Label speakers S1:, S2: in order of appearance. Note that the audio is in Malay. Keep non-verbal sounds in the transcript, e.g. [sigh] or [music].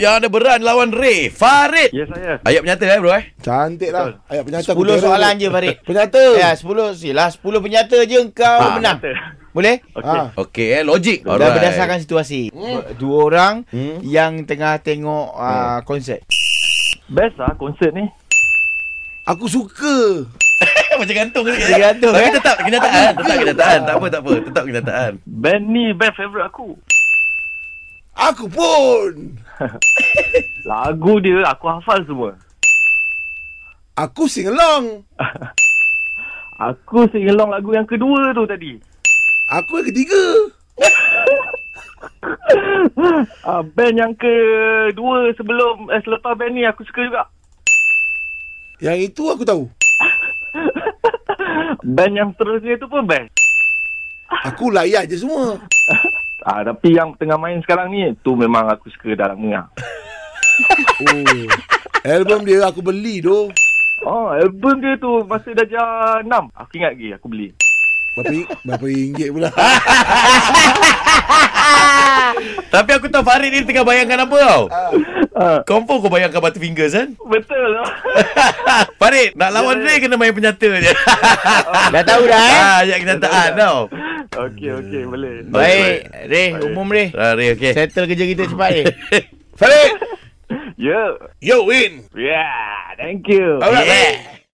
S1: yang ada beran lawan Ray Farid.
S2: Ya saya.
S1: Ayat penyata eh bro eh.
S3: Cantik lah. Ayat penyata.
S4: 10 soalan je Farid.
S3: Penyata.
S4: Ya, 10 silah 10 penyata je engkau
S1: Ah,
S4: menang.
S2: Kata.
S4: Boleh?
S2: Okey.
S3: Ah.
S1: Okey eh logik.
S4: Dah berdasarkan situasi. Dua orang
S3: Hmm.
S4: yang tengah tengok ah, konsert.
S2: Best lah konsert ni.
S3: Aku suka.
S1: Eh, macam gantung sikit.
S4: Macam gantung,
S1: Tapi
S4: eh?
S1: tetap kita tahan, tetap kita tahan. Tak apa tak apa, tetap kita tahan.
S2: Band ni band favourite aku.
S3: Aku pun.
S2: Lagu dia aku hafal semua.
S3: Aku sing along.
S2: Aku sing along lagu yang kedua tu tadi. [laughs]
S3: Aku yang ketiga.
S2: Uh, band yang kedua sebelum eh, selepas band ni aku suka juga. [laughs]
S3: Yang itu aku tahu.
S2: Band yang seterusnya tu pun best.
S3: Aku layak je semua.
S2: Ah, tapi yang tengah main sekarang ni tu memang aku suka dalam lah. menga.
S4: [laughs]
S3: Oh. Album dia aku beli doh.
S2: Oh, album dia tu masa darjah 6. Aku ingat lagi aku beli. [laughs]
S3: Berapa, berapa ringgit
S4: [laughs]
S3: pula.
S1: Tapi aku tahu Farid ni tengah bayangkan apa tau.
S2: Ah,
S1: Confirm kau bayangkan Butterfingers kan? [laughs]
S2: betul. lah.
S1: Farid, nak lawan Ray
S2: Ya.
S1: kena main penyata je.
S4: Dah tahu dah eh?
S1: [laughs] Ah, ayat kita tahan
S2: [laughs]
S1: tau.
S2: okey, okey, boleh.
S4: Baik, Reh, umum Reh.
S1: Ah, Ray okey. [laughs]
S4: Settle kerja kita cepat Reh.
S3: Farid,
S2: Ya.
S3: you win.
S2: Yeah. yeah, thank you.
S3: Alright,
S1: Yeah.
S3: Farid.